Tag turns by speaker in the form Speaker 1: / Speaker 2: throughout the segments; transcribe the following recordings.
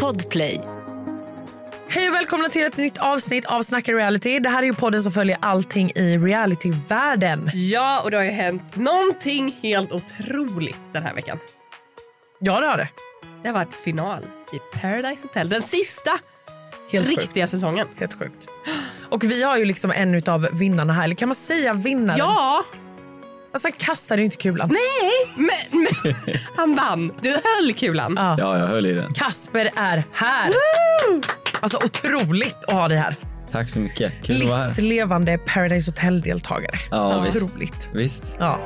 Speaker 1: Podplay.
Speaker 2: Hej och välkomna till ett nytt avsnitt av Snacka reality. Det här är ju podden som följer allting i realityvärlden.
Speaker 3: Ja, och det har ju hänt någonting helt otroligt den här veckan.
Speaker 2: Ja, det har det.
Speaker 3: Det har varit final i Paradise Hotel. Den sista
Speaker 2: Helt sjukt.
Speaker 3: riktiga säsongen.
Speaker 2: Helt sjukt. Och vi har ju liksom en av vinnarna här. Eller kan man säga vinnaren?
Speaker 3: Ja,
Speaker 2: Alltså han kastade ju inte kulan.
Speaker 3: nej, men, men han vann. Du höll kulan.
Speaker 2: Ja.
Speaker 4: Ja, jag höll i den.
Speaker 2: Kasper är här! Alltså otroligt att ha dig här.
Speaker 4: Tack så mycket. Kul att vara här.
Speaker 2: Livslevande Paradise Hotel-deltagare.
Speaker 4: Ja, visst.
Speaker 2: otroligt.
Speaker 4: Visst.
Speaker 2: Ja.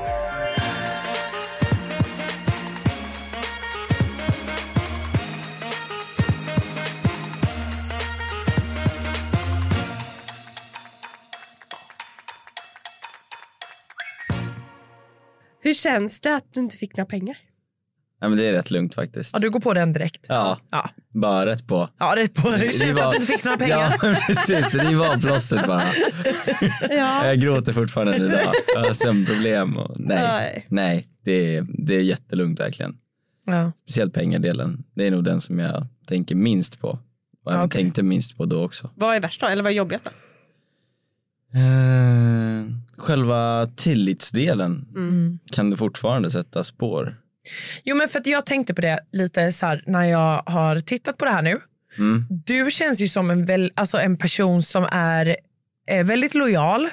Speaker 3: Hur känns det att du inte fick några pengar?
Speaker 4: Ja, men det är rätt lugnt faktiskt.
Speaker 2: ja, du går på den direkt.
Speaker 4: Ja,
Speaker 2: Ja,
Speaker 4: bara rätt på.
Speaker 2: ja det, är på. det känns
Speaker 4: var-
Speaker 2: att du inte fick några pengar.
Speaker 4: Ja, precis. Riva av plåstret bara.
Speaker 3: Ja.
Speaker 4: Jag gråter fortfarande än idag. Jag har sömnproblem. Och...
Speaker 3: Nej.
Speaker 4: Nej, nej det, är, det är jättelugnt verkligen.
Speaker 2: Ja.
Speaker 4: Speciellt pengadelen. Det är nog den som jag tänker minst på. Och även
Speaker 2: okej.
Speaker 4: tänkte minst på då också.
Speaker 3: Vad är värst då? Eller vad är jobbigast då?
Speaker 4: Eh, själva tillitsdelen
Speaker 2: Mm.
Speaker 4: kan det fortfarande sätta spår.
Speaker 2: Jo, men för att jag tänkte på det lite så här, när jag har tittat på det här nu.
Speaker 4: Mm.
Speaker 2: Du känns ju som en, väl, alltså en person som är eh, väldigt lojal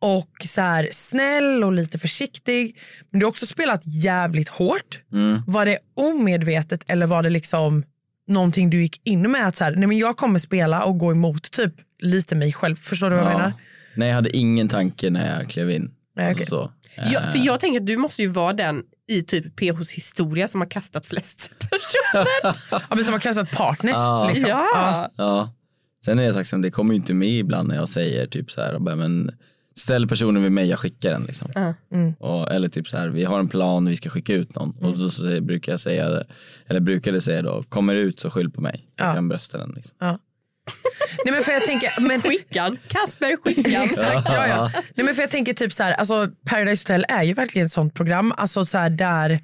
Speaker 2: och så här, snäll och lite försiktig. Men du har också spelat jävligt hårt.
Speaker 4: Mm.
Speaker 2: Var det omedvetet eller var det liksom någonting du gick in med? Att så här, nej men jag kommer spela och gå emot typ lite mig själv. Förstår du vad jag menar?
Speaker 4: Ja. Nej, jag hade ingen tanke när jag klev in.
Speaker 2: Nej, okej.
Speaker 4: Alltså så.
Speaker 3: Ja, för jag tänker att du måste ju vara den i typ PHs historia som har kastat flest personer.
Speaker 2: Ja, men som har kastat partners.
Speaker 4: Ja.
Speaker 2: Liksom.
Speaker 3: Ja.
Speaker 4: Ja. Sen är jag tacksam, det kommer ju inte med ibland när jag säger typ så här, bara, men ställ personen vid mig, jag skickar den liksom.
Speaker 3: Ja.
Speaker 2: Mm.
Speaker 4: Och, eller typ så här, vi har en plan, vi ska skicka ut någon. Och då så säger- brukar jag säga, det- eller brukade säga då, kommer det ut så skyll på mig. Jag
Speaker 2: Ja.
Speaker 4: kan brösta den liksom.
Speaker 2: Nej, men för jag tänker, men
Speaker 3: Skickan. Kasper Skickan.
Speaker 2: Exakt, ja, ja. Nej, men för jag tänker typ så här, alltså Paradise Hotel är ju verkligen ett sånt program alltså så här, där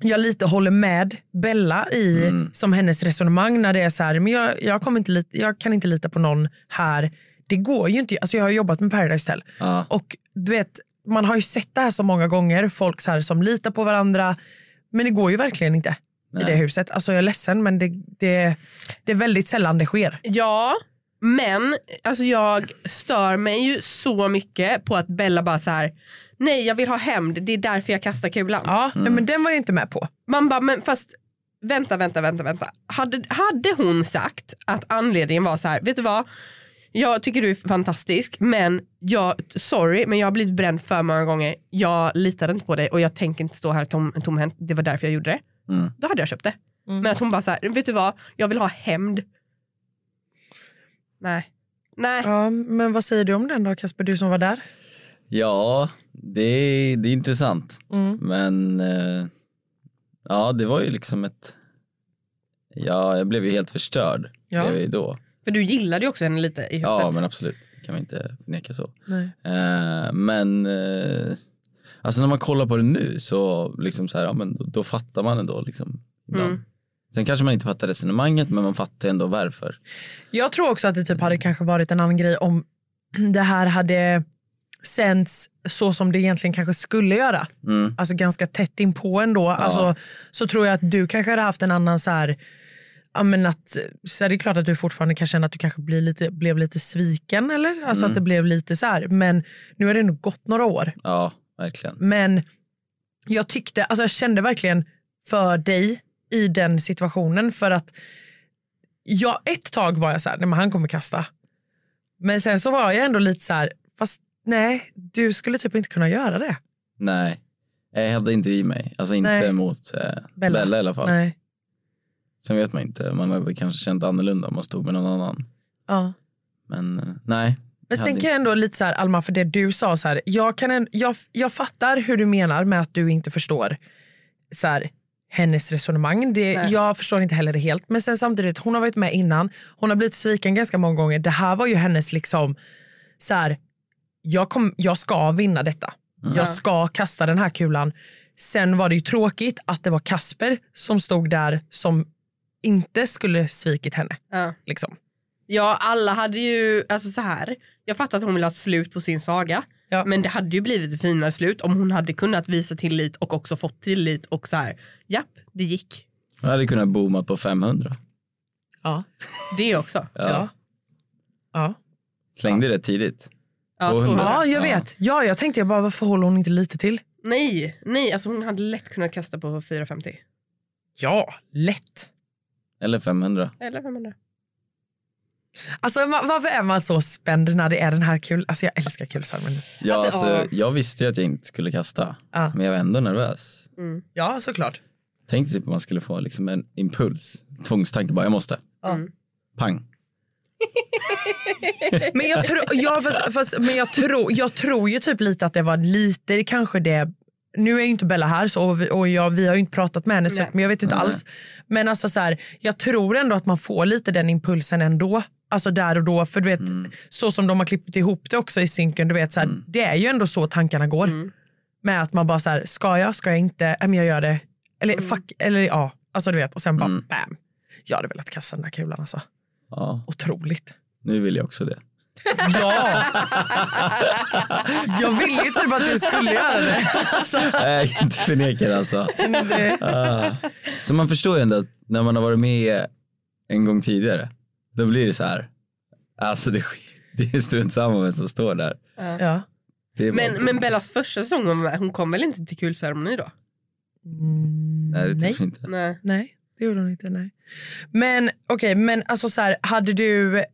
Speaker 2: jag lite håller med Bella i som hennes resonemang när det är så här, men jag, jag, kommer inte lita, jag kan inte lita på någon här. Det går ju inte. Alltså jag har jobbat med Paradise Hotel
Speaker 4: Ja.
Speaker 2: och du vet, man har ju sett det här så många gånger, folk så här som litar på varandra. Men det går ju verkligen inte
Speaker 4: Nej.
Speaker 2: i det huset. Alltså jag är ledsen men det, det, det är väldigt sällan det sker.
Speaker 3: Ja, men alltså jag stör mig ju så mycket på att Bella bara så här. Nej, jag vill ha hämnd. Det är därför jag kastar kulan.
Speaker 2: Ja, nej, men den var jag inte med på.
Speaker 3: Man bara, men fast vänta, vänta, vänta, vänta. Hade, hade hon sagt att anledningen var så här, vet du vad? Jag tycker du är fantastisk, men jag, sorry, men jag har blivit bränd för många gånger. Jag litade inte på dig och jag tänker inte stå här tom, tomhänt. Det var därför jag gjorde det.
Speaker 4: Mm.
Speaker 3: Då hade jag köpt det.
Speaker 2: Mm.
Speaker 3: Men att hon bara så här, vet du vad? Jag vill ha hämnd. Nej. Nej.
Speaker 2: Ja, men vad säger du om den då Kasper, du som var där?
Speaker 4: Ja, det är, det är intressant.
Speaker 2: Mm.
Speaker 4: Men eh, ja, det var ju liksom ett... Ja, jag blev ju helt förstörd.
Speaker 2: Ja.
Speaker 4: Blev jag ju då.
Speaker 3: För du gillade ju också henne lite i huset.
Speaker 4: Ja, men absolut. Det kan man inte förneka så.
Speaker 2: Nej.
Speaker 4: Eh, men eh, alltså när man kollar på det nu så, liksom så här, ja, men då, då fattar man ändå. Liksom, ibland.
Speaker 3: Mm.
Speaker 4: Sen kanske man inte fattar resonemanget men man fattar ändå varför.
Speaker 2: Jag tror också att det typ hade kanske varit en annan grej om det här hade sänds så som det egentligen kanske skulle göra.
Speaker 4: Mm.
Speaker 2: Alltså ganska tätt inpå ändå. Alltså, så tror jag att du kanske hade haft en annan så här Ja, men att, så här, det är klart att du fortfarande kan känna att du kanske blir lite, blev lite sviken eller alltså att det blev lite så här. Men nu har det ändå gått några år.
Speaker 4: Ja, verkligen.
Speaker 2: Men jag tyckte, alltså jag kände verkligen för dig i den situationen för att jag, ett tag var jag så här, nej men han kommer kasta. Men sen så var jag ändå lite så här, fast nej, du skulle typ inte kunna göra det.
Speaker 4: Nej, jag hade inte i mig. Alltså inte
Speaker 2: Nej.
Speaker 4: mot eh,
Speaker 2: Bella.
Speaker 4: Bella. i alla fall.
Speaker 2: Nej.
Speaker 4: Sen vet man inte. Man hade kanske känt annorlunda om man stod med någon annan.
Speaker 2: Ja.
Speaker 4: Men eh, nej.
Speaker 2: Men
Speaker 4: jag
Speaker 2: sen
Speaker 4: hade
Speaker 2: kan jag ändå lite så här, Alma, för det du sa så här, jag, kan en, jag, jag fattar hur du menar med att du inte förstår så här, hennes resonemang. Det,
Speaker 3: Nej.
Speaker 2: jag förstår inte heller det helt. Men sen samtidigt, hon har varit med innan, hon har blivit sviken ganska många gånger. Det här var ju hennes liksom, så här, jag, kom, jag ska vinna detta. Jag ska kasta den här kulan. Sen var det ju tråkigt att det var Kasper som stod där som inte skulle svikit henne.
Speaker 3: Ja.
Speaker 2: Liksom.
Speaker 3: Ja, alla hade ju, alltså så här. Jag fattar att hon vill ha ett slut på sin saga.
Speaker 2: Ja.
Speaker 3: Men det hade ju blivit ett finare slut om hon hade kunnat visa tillit och också fått tillit och så här. Japp, det gick.
Speaker 4: Hon hade kunnat booma på 500.
Speaker 2: Ja.
Speaker 3: Det också.
Speaker 4: Ja.
Speaker 2: Ja. Ja.
Speaker 4: Slängde det tidigt.
Speaker 3: Ja,
Speaker 4: 200.
Speaker 3: 200.
Speaker 2: ja, jag
Speaker 4: Ja.
Speaker 2: vet. Ja, jag tänkte jag bara, varför håller hon inte lite till?
Speaker 3: Nej, nej, alltså hon hade lätt kunnat kasta på 450.
Speaker 2: Ja, lätt.
Speaker 4: Eller 500.
Speaker 3: Eller 500.
Speaker 2: Alltså, ma- varför är man så spänd när det är den här kul? Alltså, jag älskar kulsarmen.
Speaker 4: Ja,
Speaker 3: Alltså,
Speaker 4: alltså,
Speaker 3: ja.
Speaker 4: Jag visste ju att jag inte skulle kasta.
Speaker 2: Ja.
Speaker 4: Men jag var ändå nervös.
Speaker 3: Mm.
Speaker 2: Ja, såklart.
Speaker 4: Tänkte typ att man skulle få liksom en impuls. Tvångstanke bara, jag måste.
Speaker 2: Ja.
Speaker 3: Mm.
Speaker 4: Pang.
Speaker 2: Men jag, tro, ja, fast, fast, men jag, tro, jag tror ju typ lite att det var lite, det kanske det nu är ju inte Bella här så, och, vi, och jag, vi har ju inte pratat med henne så,
Speaker 3: Nej.
Speaker 2: men jag vet ju inte
Speaker 4: Nej.
Speaker 2: alls. Men alltså så här, jag tror ändå att man får lite den impulsen ändå. Alltså där och då. För du vet, så som de har klippt ihop det också i synken, du vet, så här, det är ju ändå så tankarna går. Med att man bara så här, ska jag, ska jag inte, Nej, men jag gör det. Eller fuck, eller ja. Alltså du vet, och sen bara bam. Jag hade velat kasta den där kulan alltså.
Speaker 4: Ja,
Speaker 2: Otroligt.
Speaker 4: nu vill jag också det.
Speaker 2: Ja! Jag ville ju typ att du skulle göra det. Alltså,
Speaker 4: Nej, jag inte förnekar alltså.
Speaker 2: men det-
Speaker 4: Ah. Så man förstår ju ändå att när man har varit med en gång tidigare, då blir det så här. Alltså det, sk- det är strunt samma vem som står där.
Speaker 2: ja.
Speaker 4: Det är bara-
Speaker 3: Men, men Bellas första säsong, hon, var med, hon kom väl inte till kulceremoni då?
Speaker 2: Mm,
Speaker 4: Nej, det typ-
Speaker 2: nej.
Speaker 4: tycker jag inte.
Speaker 3: Nej.
Speaker 2: nej, det gjorde hon inte. Nej. Men okej, men alltså så här, hade du,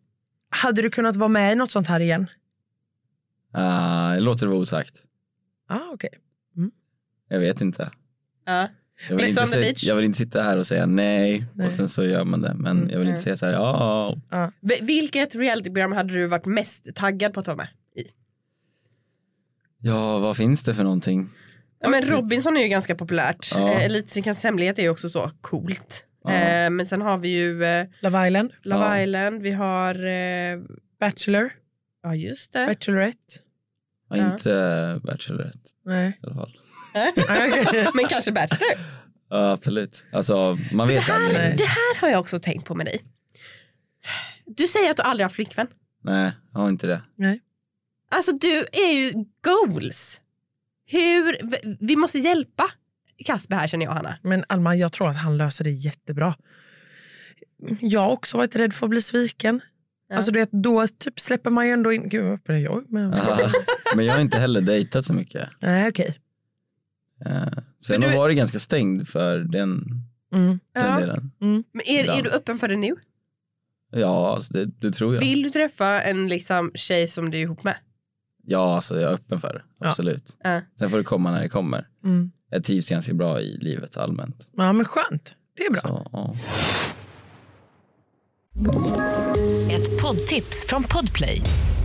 Speaker 2: hade du kunnat vara med i något sånt här igen?
Speaker 4: Ah, jag låter det vara osagt.
Speaker 2: Ah, okej.
Speaker 4: Jag vet inte.
Speaker 3: Ja.
Speaker 4: Jag vill,
Speaker 3: Ex
Speaker 4: inte
Speaker 3: on the
Speaker 4: säga,
Speaker 3: beach.
Speaker 4: jag vill inte sitta här och säga nej,
Speaker 2: Nej.
Speaker 4: och sen så gör man det. Men
Speaker 2: Mm,
Speaker 4: jag vill
Speaker 3: nej.
Speaker 4: inte säga så här, ja.
Speaker 3: V- Vilket realityprogram hade du varit mest taggad på att vara med i?
Speaker 4: Ja, vad finns det för någonting?
Speaker 3: Ja, men Robinson är ju ganska populärt.
Speaker 4: Ja.
Speaker 3: Eh, Elitsynkans hemlighet är ju också så coolt.
Speaker 4: Ja.
Speaker 3: Eh, men sen har vi ju eh,
Speaker 2: Love Island,
Speaker 3: Love
Speaker 4: Ja.
Speaker 3: Island, vi har... Eh,
Speaker 2: Bachelor,
Speaker 3: ja just det.
Speaker 2: Bachelorette.
Speaker 4: Ja,
Speaker 3: Ja.
Speaker 4: Inte Bachelorette
Speaker 2: Nej.
Speaker 4: i alla fall.
Speaker 2: Ah, okej.
Speaker 3: men kanske Bachelor.
Speaker 4: Ja, absolut. Alltså, man vet aldrig.
Speaker 2: Nej.
Speaker 3: Det här har jag också tänkt på med dig. Du säger att du aldrig har haft flickvän.
Speaker 4: Nej, jag har inte det.
Speaker 3: Alltså du är ju goals. Hur, v- vi måste hjälpa Kasper här känner jag Hanna.
Speaker 2: Men Alma, jag tror att han löser det jättebra. Jag har också varit rädd för att bli sviken.
Speaker 3: Ja.
Speaker 2: Alltså du vet, då typ släpper man ju ändå in... Gud, vad öppen är jag? Men...
Speaker 4: Ja. Men jag har inte heller dejtat så mycket.
Speaker 2: Nej, okej.
Speaker 4: Eh, Så jag
Speaker 3: du-
Speaker 4: har nog varit ganska stängd för den, den
Speaker 2: Mm.
Speaker 3: Ja.
Speaker 4: delen.
Speaker 3: Men är, är du öppen för det nu?
Speaker 4: Ja, alltså det, det tror jag.
Speaker 3: Vill du träffa en liksom, tjej som du är ihop med?
Speaker 4: Ja, alltså jag är öppen för det.
Speaker 2: Ja.
Speaker 4: Absolut.
Speaker 3: Ja.
Speaker 4: Sen får det komma när det kommer.
Speaker 2: Mm.
Speaker 4: Jag trivs ganska bra i livet allmänt.
Speaker 2: Ja, men skönt. Det är bra.
Speaker 4: Så, ja.
Speaker 1: Ett poddtips från Podplay.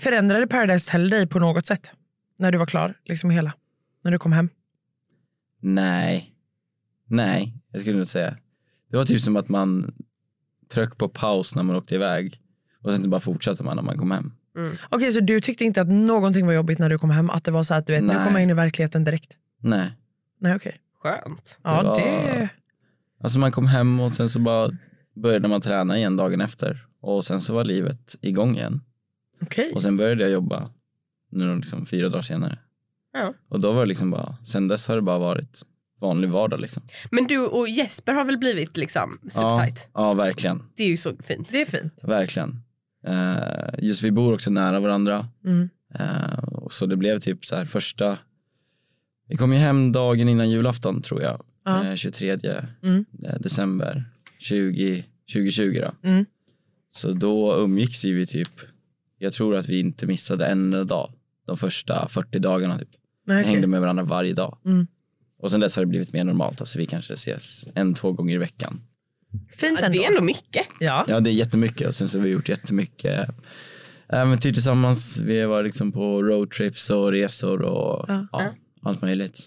Speaker 2: Förändrade Paradise Hotel dig på något sätt? När du var klar, liksom hela? När du kom hem?
Speaker 4: Nej. Nej, jag skulle inte säga. Det var typ som att man tryckte på paus när man åkte iväg och sen bara fortsatte man när man kom hem.
Speaker 2: Okej, så du tyckte inte att någonting var jobbigt när du kom hem? Att det var så här att du vet, nu
Speaker 4: Nej.
Speaker 2: kommer jag in i verkligheten direkt?
Speaker 4: Nej.
Speaker 2: Nej, okej.
Speaker 3: Skönt.
Speaker 2: Ja,
Speaker 4: Det var-
Speaker 2: det...
Speaker 4: Alltså man kom hem och sen så bara började man träna igen dagen efter och sen så var livet igång igen.
Speaker 2: Okej.
Speaker 4: Och sen började jag jobba nu då liksom fyra dagar senare.
Speaker 3: Ja.
Speaker 4: Och då var det liksom bara, sen dess har det bara varit vanlig vardag liksom.
Speaker 3: Men du och Jesper har väl blivit liksom supertight?
Speaker 4: Ja, ja verkligen.
Speaker 3: Det är ju så fint.
Speaker 2: Det är fint.
Speaker 4: Verkligen. Eh, just vi bor också nära varandra.
Speaker 2: Mm.
Speaker 4: Eh, och så det blev typ så här första... Vi kom ju hem dagen innan julafton tror jag.
Speaker 2: Ja.
Speaker 4: Eh, 23
Speaker 2: Mm.
Speaker 4: eh, december 20, 2020 då.
Speaker 2: Mm.
Speaker 4: Så då umgicks ju vi typ... Jag tror att vi inte missade en enda dag. De första 40 dagarna typ.
Speaker 2: Nej,
Speaker 4: Vi
Speaker 2: okej.
Speaker 4: hängde med varandra varje dag.
Speaker 2: Mm.
Speaker 4: Och sen dess har det blivit mer normalt. Alltså vi kanske ses en, två gånger i veckan.
Speaker 2: Fint
Speaker 3: Ja,
Speaker 2: ändå.
Speaker 3: det är ändå mycket.
Speaker 2: Ja.
Speaker 4: Ja, det är jättemycket och sen så har vi gjort jättemycket äventyr tillsammans. Vi har varit liksom på roadtrips och resor och ja. allt möjligt.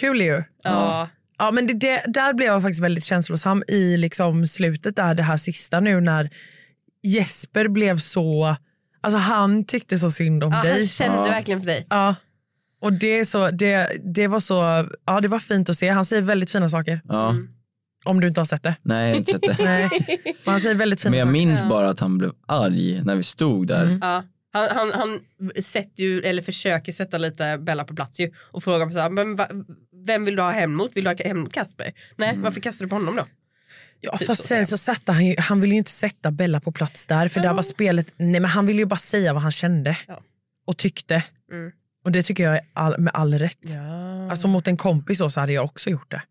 Speaker 2: Kul ju.
Speaker 3: Ja.
Speaker 2: Ja, men det, det, där blev jag faktiskt väldigt känslosam i liksom slutet där, det här sista nu när Jesper blev så, alltså han tyckte så synd om
Speaker 3: Ja, han
Speaker 2: dig.
Speaker 3: kände
Speaker 4: Ja.
Speaker 3: verkligen för dig.
Speaker 2: Ja. Och det, är så, det, det var så, ja det var fint att se. Han säger väldigt fina saker,
Speaker 4: Ja,
Speaker 2: om du inte har sett det.
Speaker 4: nej jag har inte sett det.
Speaker 2: Nej. Men han säger väldigt fina
Speaker 4: Men jag
Speaker 2: saker.
Speaker 4: minns bara att han blev arg när vi stod där.
Speaker 3: Ja. Han, han, han sätter ju, eller försöker sätta lite Bella på plats ju, och frågar så här, men va, vem vill du ha hem mot? Vill du ha hem mot Kasper? Nej,
Speaker 4: Mm.
Speaker 3: varför kastar du på honom då?
Speaker 2: Ja, fast sen så satte han ju, han ville ju inte sätta Bella på plats där för där var spelet, nej men han ville ju bara säga vad han kände
Speaker 3: Ja.
Speaker 2: och tyckte.
Speaker 3: Mm.
Speaker 2: Och det tycker jag är all, med all rätt.
Speaker 3: Ja.
Speaker 2: Alltså mot en kompis så, så hade jag också gjort det.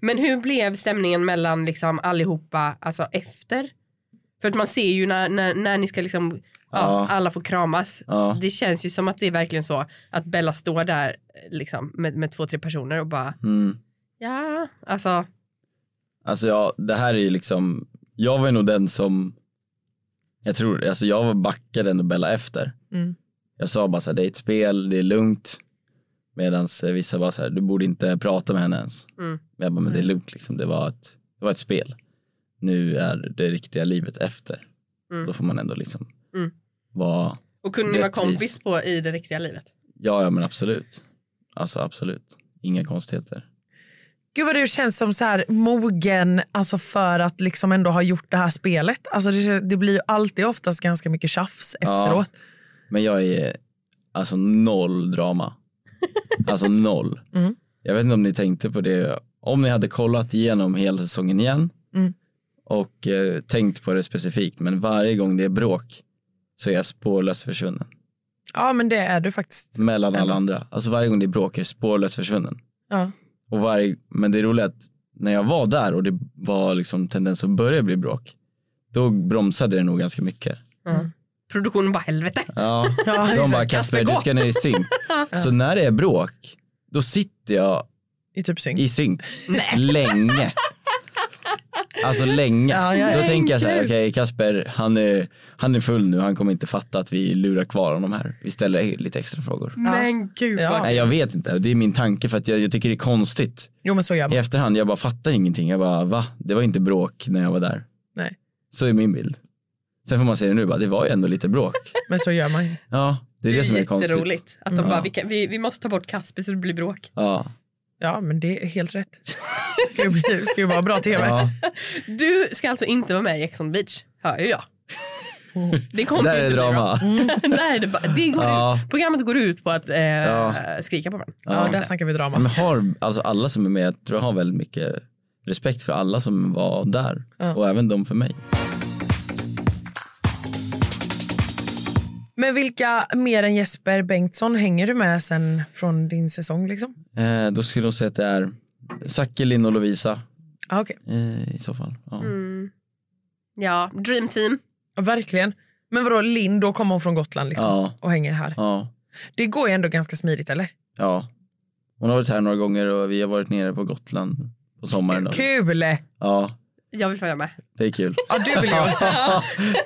Speaker 3: Men hur blev stämningen mellan liksom allihopa alltså efter? För att man ser ju när, när, när ni ska liksom, ja,
Speaker 4: Ja.
Speaker 3: alla får kramas.
Speaker 4: Ja.
Speaker 3: Det känns ju som att det är verkligen så att Bella står där eh, liksom, med, med två, tre personer och bara
Speaker 4: Mm.
Speaker 3: ja, alltså
Speaker 4: Alltså ja, det här är ju liksom, jag var ju nog den som, jag tror, alltså jag var backade ändå Bella efter.
Speaker 2: Mm.
Speaker 4: Jag sa bara så här, det är ett spel, det är lugnt. Medan vissa bara så här, du borde inte prata med henne ens.
Speaker 3: Mm.
Speaker 4: Men jag bara, men det är lugnt liksom, det var ett, det var ett spel. Nu är det riktiga livet efter.
Speaker 3: Mm.
Speaker 4: Då får man ändå liksom
Speaker 3: Mm.
Speaker 4: vara,
Speaker 3: och kunde ni vara
Speaker 4: Rättvis.
Speaker 3: kompis på i det riktiga livet?
Speaker 4: ja ja men absolut. Alltså absolut, inga konstigheter.
Speaker 2: Gud vad du känns som så här mogen alltså för att liksom ändå ha gjort det här spelet. Alltså det, det blir ju alltid oftast ganska mycket tjafs
Speaker 4: Ja.
Speaker 2: efteråt.
Speaker 4: Men jag är alltså noll drama. Alltså noll.
Speaker 2: Mm.
Speaker 4: Jag vet inte om ni tänkte på det. Om ni hade kollat igenom hela säsongen igen
Speaker 2: Mm.
Speaker 4: och eh, tänkt på det specifikt. Men varje gång det är bråk så är jag spårlöst försvunnen.
Speaker 2: Ja men det är du faktiskt.
Speaker 4: Mellan alla andra. Alltså varje gång det är bråk är jag spårlöst försvunnen.
Speaker 2: Ja.
Speaker 4: Och varje, men det är roligt att när jag var där och det var liksom tendens att börja bli bråk. Då bromsade det nog ganska mycket.
Speaker 3: Produktionen bara helvete.
Speaker 4: Ja, de bara Kasper du ska ner i synk. Så när det är bråk, då sitter jag
Speaker 2: I typ synk.
Speaker 4: i synk länge. Alltså länge.
Speaker 2: Ja, ja, ja.
Speaker 4: Då tänker jag så här, okej Kasper, han är, han är full nu, han kommer inte fatta att vi lurar kvar honom här. Vi ställer lite extra frågor.
Speaker 3: Men gud
Speaker 2: Ja.
Speaker 3: vad
Speaker 4: Nej jag vet inte, det är min tanke för att jag, jag tycker det är konstigt.
Speaker 2: Jo men så gör
Speaker 4: I
Speaker 2: man.
Speaker 4: efterhand, jag bara fattar ingenting. Jag bara, va? Det var inte bråk när jag var där.
Speaker 2: Nej.
Speaker 4: Så är min bild. Sen får man se det nu, bara, det var ju ändå lite bråk.
Speaker 2: Men så gör man ju.
Speaker 4: Ja, det är det, som är konstigt.
Speaker 3: jätteroligt. Att de
Speaker 4: Mm.
Speaker 3: bara,
Speaker 4: Ja.
Speaker 3: vi, kan, vi, vi måste ta bort Kasper så det blir bråk.
Speaker 4: Ja.
Speaker 2: Ja men det är helt rätt. Det ska ju, bli, det ska ju vara bra tv.
Speaker 4: ja.
Speaker 3: Du ska alltså inte vara med i Ex on the beach, hör ju jag. Det kommer
Speaker 4: Där
Speaker 3: ju
Speaker 4: är
Speaker 3: inte bli bra. Mm.
Speaker 4: drama.
Speaker 3: Där är det bara, det går
Speaker 4: Ja.
Speaker 3: ut, programmet går ut på att eh,
Speaker 4: Ja.
Speaker 3: skrika på varandra.
Speaker 2: Ja, där snackar vi drama.
Speaker 4: Men har, alltså alla som är med, jag tror jag har väldigt mycket respekt för alla som var där. Och även de för mig.
Speaker 2: Men vilka mer än Jesper Bengtsson hänger du med sen från din säsong? Liksom?
Speaker 4: Eh, då skulle jag säga att det är Zacke, Linn och Lovisa
Speaker 2: Ah, okay.
Speaker 4: eh, i så fall. Ja.
Speaker 3: Ja, dream team.
Speaker 2: Verkligen. Men vadå, Linn, då kommer hon från Gotland liksom,
Speaker 4: Ja.
Speaker 2: och hänger här.
Speaker 4: ja,
Speaker 2: Det går ju ändå ganska smidigt, eller?
Speaker 4: ja. Hon har varit här några gånger och vi har varit nere på Gotland på sommaren. Då.
Speaker 2: Kul!
Speaker 4: Ja,
Speaker 3: Jag vill följa med.
Speaker 4: det är kul.
Speaker 2: Ja, du vill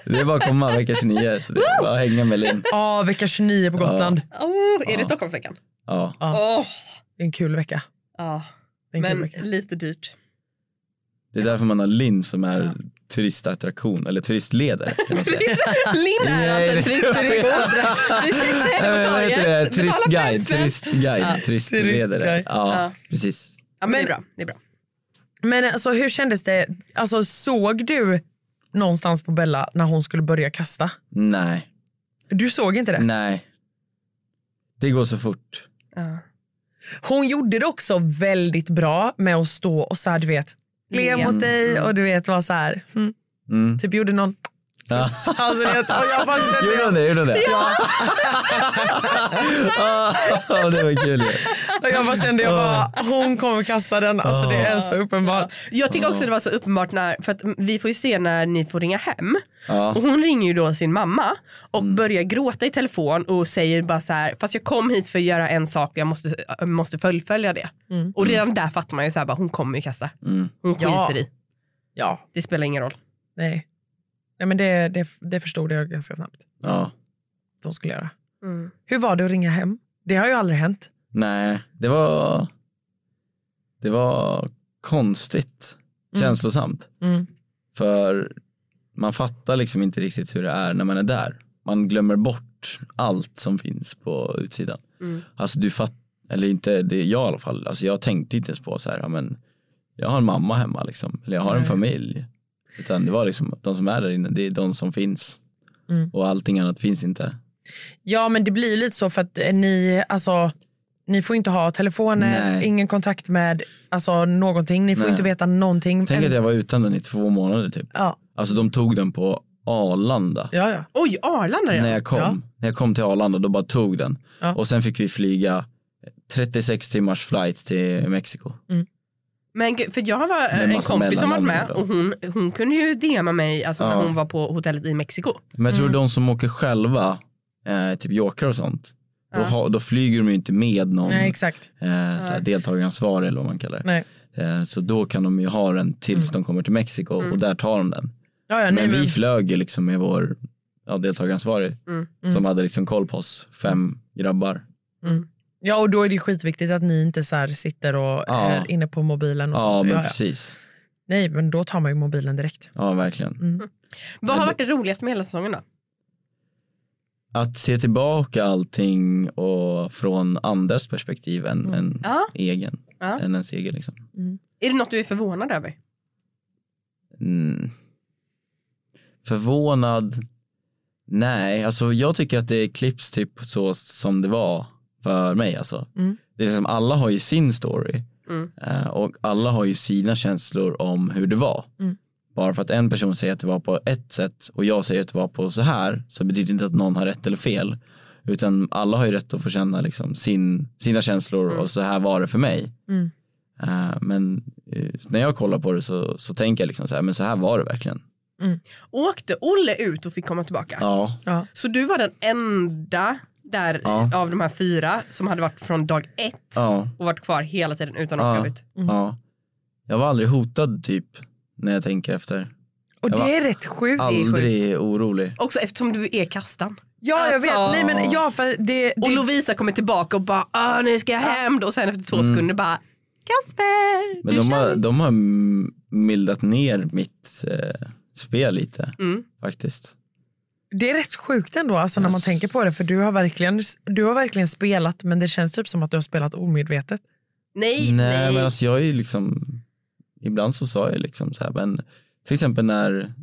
Speaker 2: ju.
Speaker 4: det är bara att komma vecka 29, så det är bara att hänga med Linn.
Speaker 2: Ja, Ah, vecka 29 på Gotland.
Speaker 3: Oh, är det Stockholmsveckan?
Speaker 4: Ja.
Speaker 3: Åh.
Speaker 2: Det är en kul vecka.
Speaker 3: Ja.
Speaker 2: Det är en
Speaker 3: Men
Speaker 2: kul vecka.
Speaker 3: lite dyrt.
Speaker 4: Det är därför man har Linn som är turistattraktion, eller turistledare. Kan man säga.
Speaker 3: Linn är alltså en turistattraktion. Vi sitter
Speaker 4: Nej,
Speaker 3: här
Speaker 4: men
Speaker 3: på
Speaker 4: Eh, Vad heter
Speaker 3: torget, betalar
Speaker 4: det?
Speaker 3: fem
Speaker 4: Turistguide,
Speaker 3: spänn.
Speaker 4: turistguide, turistledare.
Speaker 2: turistguide.
Speaker 4: Ja,
Speaker 3: Ja.
Speaker 4: precis.
Speaker 3: Ja, men det är bra. Det är bra.
Speaker 2: Men alltså, hur kändes det? Alltså, såg du någonstans på Bella när hon skulle börja kasta?
Speaker 4: Nej,
Speaker 2: Du såg inte det?
Speaker 4: nej. Det går så fort.
Speaker 3: Ja.
Speaker 2: Hon gjorde det också väldigt bra med att stå och så här, du vet, le
Speaker 3: Le.
Speaker 2: mot dig och du vet, var så här, mm,
Speaker 4: Mm.
Speaker 2: typ gjorde någon
Speaker 4: Ja.
Speaker 2: Alltså, det, och jag bara kände-
Speaker 4: Gjorde hon det? Gjorde hon det? Ja. det var kul.
Speaker 2: Och jag bara kände jag bara, hon kommer kasta den. Alltså, det är så uppenbart.
Speaker 3: Jag tycker också det var så uppenbart när, för att vi får ju se när ni får ringa hem. Och
Speaker 4: Ja.
Speaker 3: hon ringer ju då sin mamma och
Speaker 4: Mm.
Speaker 3: börjar gråta i telefon och säger bara så här, fast jag kom hit för att göra en sak och jag måste, jag
Speaker 4: Mm.
Speaker 3: måste fullfölja det. Och redan där fattar man ju så här, bara, hon kommer ju kasta. Hon skiter
Speaker 2: Ja.
Speaker 3: i.
Speaker 2: Ja,
Speaker 3: Det spelar ingen roll.
Speaker 2: nej. nej men det, det, det förstod jag ganska snabbt
Speaker 4: Ja.
Speaker 2: att de skulle göra.
Speaker 4: Mm.
Speaker 2: Hur var det att ringa hem? Det har ju aldrig hänt.
Speaker 4: Nej, det var det var konstigt
Speaker 2: Mm.
Speaker 4: känslosamt.
Speaker 2: Mm.
Speaker 4: För man fattar liksom inte riktigt hur det är när man är där. Man glömmer bort allt som finns på utsidan.
Speaker 3: Mm.
Speaker 4: Alltså du fattar, eller inte, det, jag i alla fall, alltså jag tänkte inte ens på så här, ja, men jag har en mamma hemma liksom, eller jag har en
Speaker 2: Nej.
Speaker 4: familj. Utan det var liksom, de som är där inne, det är de som finns.
Speaker 2: Mm.
Speaker 4: Och allting annat finns inte.
Speaker 2: Ja, men det blir ju lite så för att eh, ni, alltså, ni får inte ha telefoner,
Speaker 4: Nej.
Speaker 2: ingen kontakt med alltså, någonting. Ni får
Speaker 4: Nej.
Speaker 2: inte veta någonting.
Speaker 4: Tänk
Speaker 2: En-
Speaker 4: att jag var utan den i två månader typ.
Speaker 2: ja,
Speaker 4: Alltså de tog den på Arlanda.
Speaker 2: ja, ja.
Speaker 3: Oj, Arlanda
Speaker 4: när
Speaker 3: redan?
Speaker 4: jag kom.
Speaker 2: Ja.
Speaker 4: När jag kom till Arlanda då bara tog den.
Speaker 2: Ja.
Speaker 4: Och sen fick vi flyga 36 timmars flight till Mexiko.
Speaker 3: Men gud, för jag har
Speaker 4: Med
Speaker 3: en
Speaker 4: massa
Speaker 3: kompis som varit med
Speaker 4: mellanlandningar då.
Speaker 3: och hon, hon kunde ju DMa mig alltså,
Speaker 4: Ja.
Speaker 3: när hon var på hotellet i Mexiko.
Speaker 4: Men jag tror
Speaker 2: Mm.
Speaker 4: de som åker själva, eh, typ jokrar och sånt,
Speaker 3: Ja.
Speaker 4: då, ha, då flyger de ju inte med någon
Speaker 2: Nej, exakt.
Speaker 4: eh, så här,
Speaker 3: Nej.
Speaker 4: deltagaransvarig eller vad man kallar det.
Speaker 2: Nej. Mm.
Speaker 4: Eh, så då kan de ju ha den tills de kommer till Mexiko och där tar de den.
Speaker 2: Ja, ja, nej,
Speaker 4: Men
Speaker 2: men,
Speaker 4: vi flög ju liksom med vår ja, deltagaransvarig
Speaker 3: Mm.
Speaker 4: som hade liksom koll på oss, fem
Speaker 2: Mm.
Speaker 4: grabbar.
Speaker 2: ja, och då är det skitviktigt att ni inte så här sitter och
Speaker 4: Ja.
Speaker 2: är inne på mobilen. Och
Speaker 4: Ja
Speaker 2: sånt.
Speaker 4: men
Speaker 2: Ja, ja.
Speaker 4: precis,
Speaker 2: Nej, men då tar man ju mobilen direkt.
Speaker 4: ja verkligen.
Speaker 3: Vad har varit det roligaste med hela säsongen då?
Speaker 4: att se tillbaka allting och från andras perspektiv än, än
Speaker 3: Mm. Ja.
Speaker 4: egen.
Speaker 3: Ja.
Speaker 4: Än ens egen liksom.
Speaker 3: Är det något du är förvånad över?
Speaker 4: Mm. Förvånad? Nej, alltså jag tycker att det klipps typ så som det var för mig alltså.
Speaker 2: Mm.
Speaker 4: Det är liksom, alla har ju sin story
Speaker 3: Mm.
Speaker 4: Eh, och alla har ju sina känslor om hur det var.
Speaker 2: Mm.
Speaker 4: Bara för att en person säger att det var på ett sätt och jag säger att det var på så här så betyder det inte att någon har rätt eller fel. Utan alla har ju rätt att få känna liksom sin, sina känslor och så här var det för mig.
Speaker 2: Mm.
Speaker 4: Eh, men eh, när jag kollar på det så, så tänker jag liksom så här, men så här var det verkligen.
Speaker 3: Åkte Olle ut och fick komma tillbaka?
Speaker 4: Ja,
Speaker 2: Ja.
Speaker 3: Så du var den enda där
Speaker 4: Ja.
Speaker 3: av de här fyra som hade varit från dag ett
Speaker 4: ja,
Speaker 3: och varit kvar hela tiden utan att
Speaker 4: Ja.
Speaker 3: åka ut.
Speaker 2: Mm.
Speaker 4: ja. Jag var aldrig hotad typ när jag tänker efter.
Speaker 2: Och
Speaker 4: Jag
Speaker 2: det
Speaker 4: var
Speaker 2: är rätt sjukt.
Speaker 4: Aldrig orolig.
Speaker 3: Också eftersom du är kastan.
Speaker 2: Ja, jag vet.
Speaker 3: Alltså.
Speaker 2: Nej, men, ja, för det,
Speaker 3: Och
Speaker 2: det,
Speaker 3: Lovisa kommer tillbaka och bara "Ah, nu ska jag hem då. och sen efter två
Speaker 4: Mm.
Speaker 3: sekunder bara Kasper,
Speaker 4: Men
Speaker 3: nu
Speaker 4: de
Speaker 3: kör
Speaker 4: har,
Speaker 3: vi."
Speaker 4: de har m- mildat ner mitt eh, spel lite
Speaker 3: Mm.
Speaker 4: faktiskt.
Speaker 2: det är rätt sjukt ändå alltså, när man
Speaker 4: Yes.
Speaker 2: tänker på det. För du har, verkligen, du har verkligen spelat, men det känns typ som att du har spelat omedvetet.
Speaker 3: Nej,
Speaker 4: nej,
Speaker 3: nej.
Speaker 4: men alltså jag är ju liksom, ibland så sa jag liksom så här, men till exempel när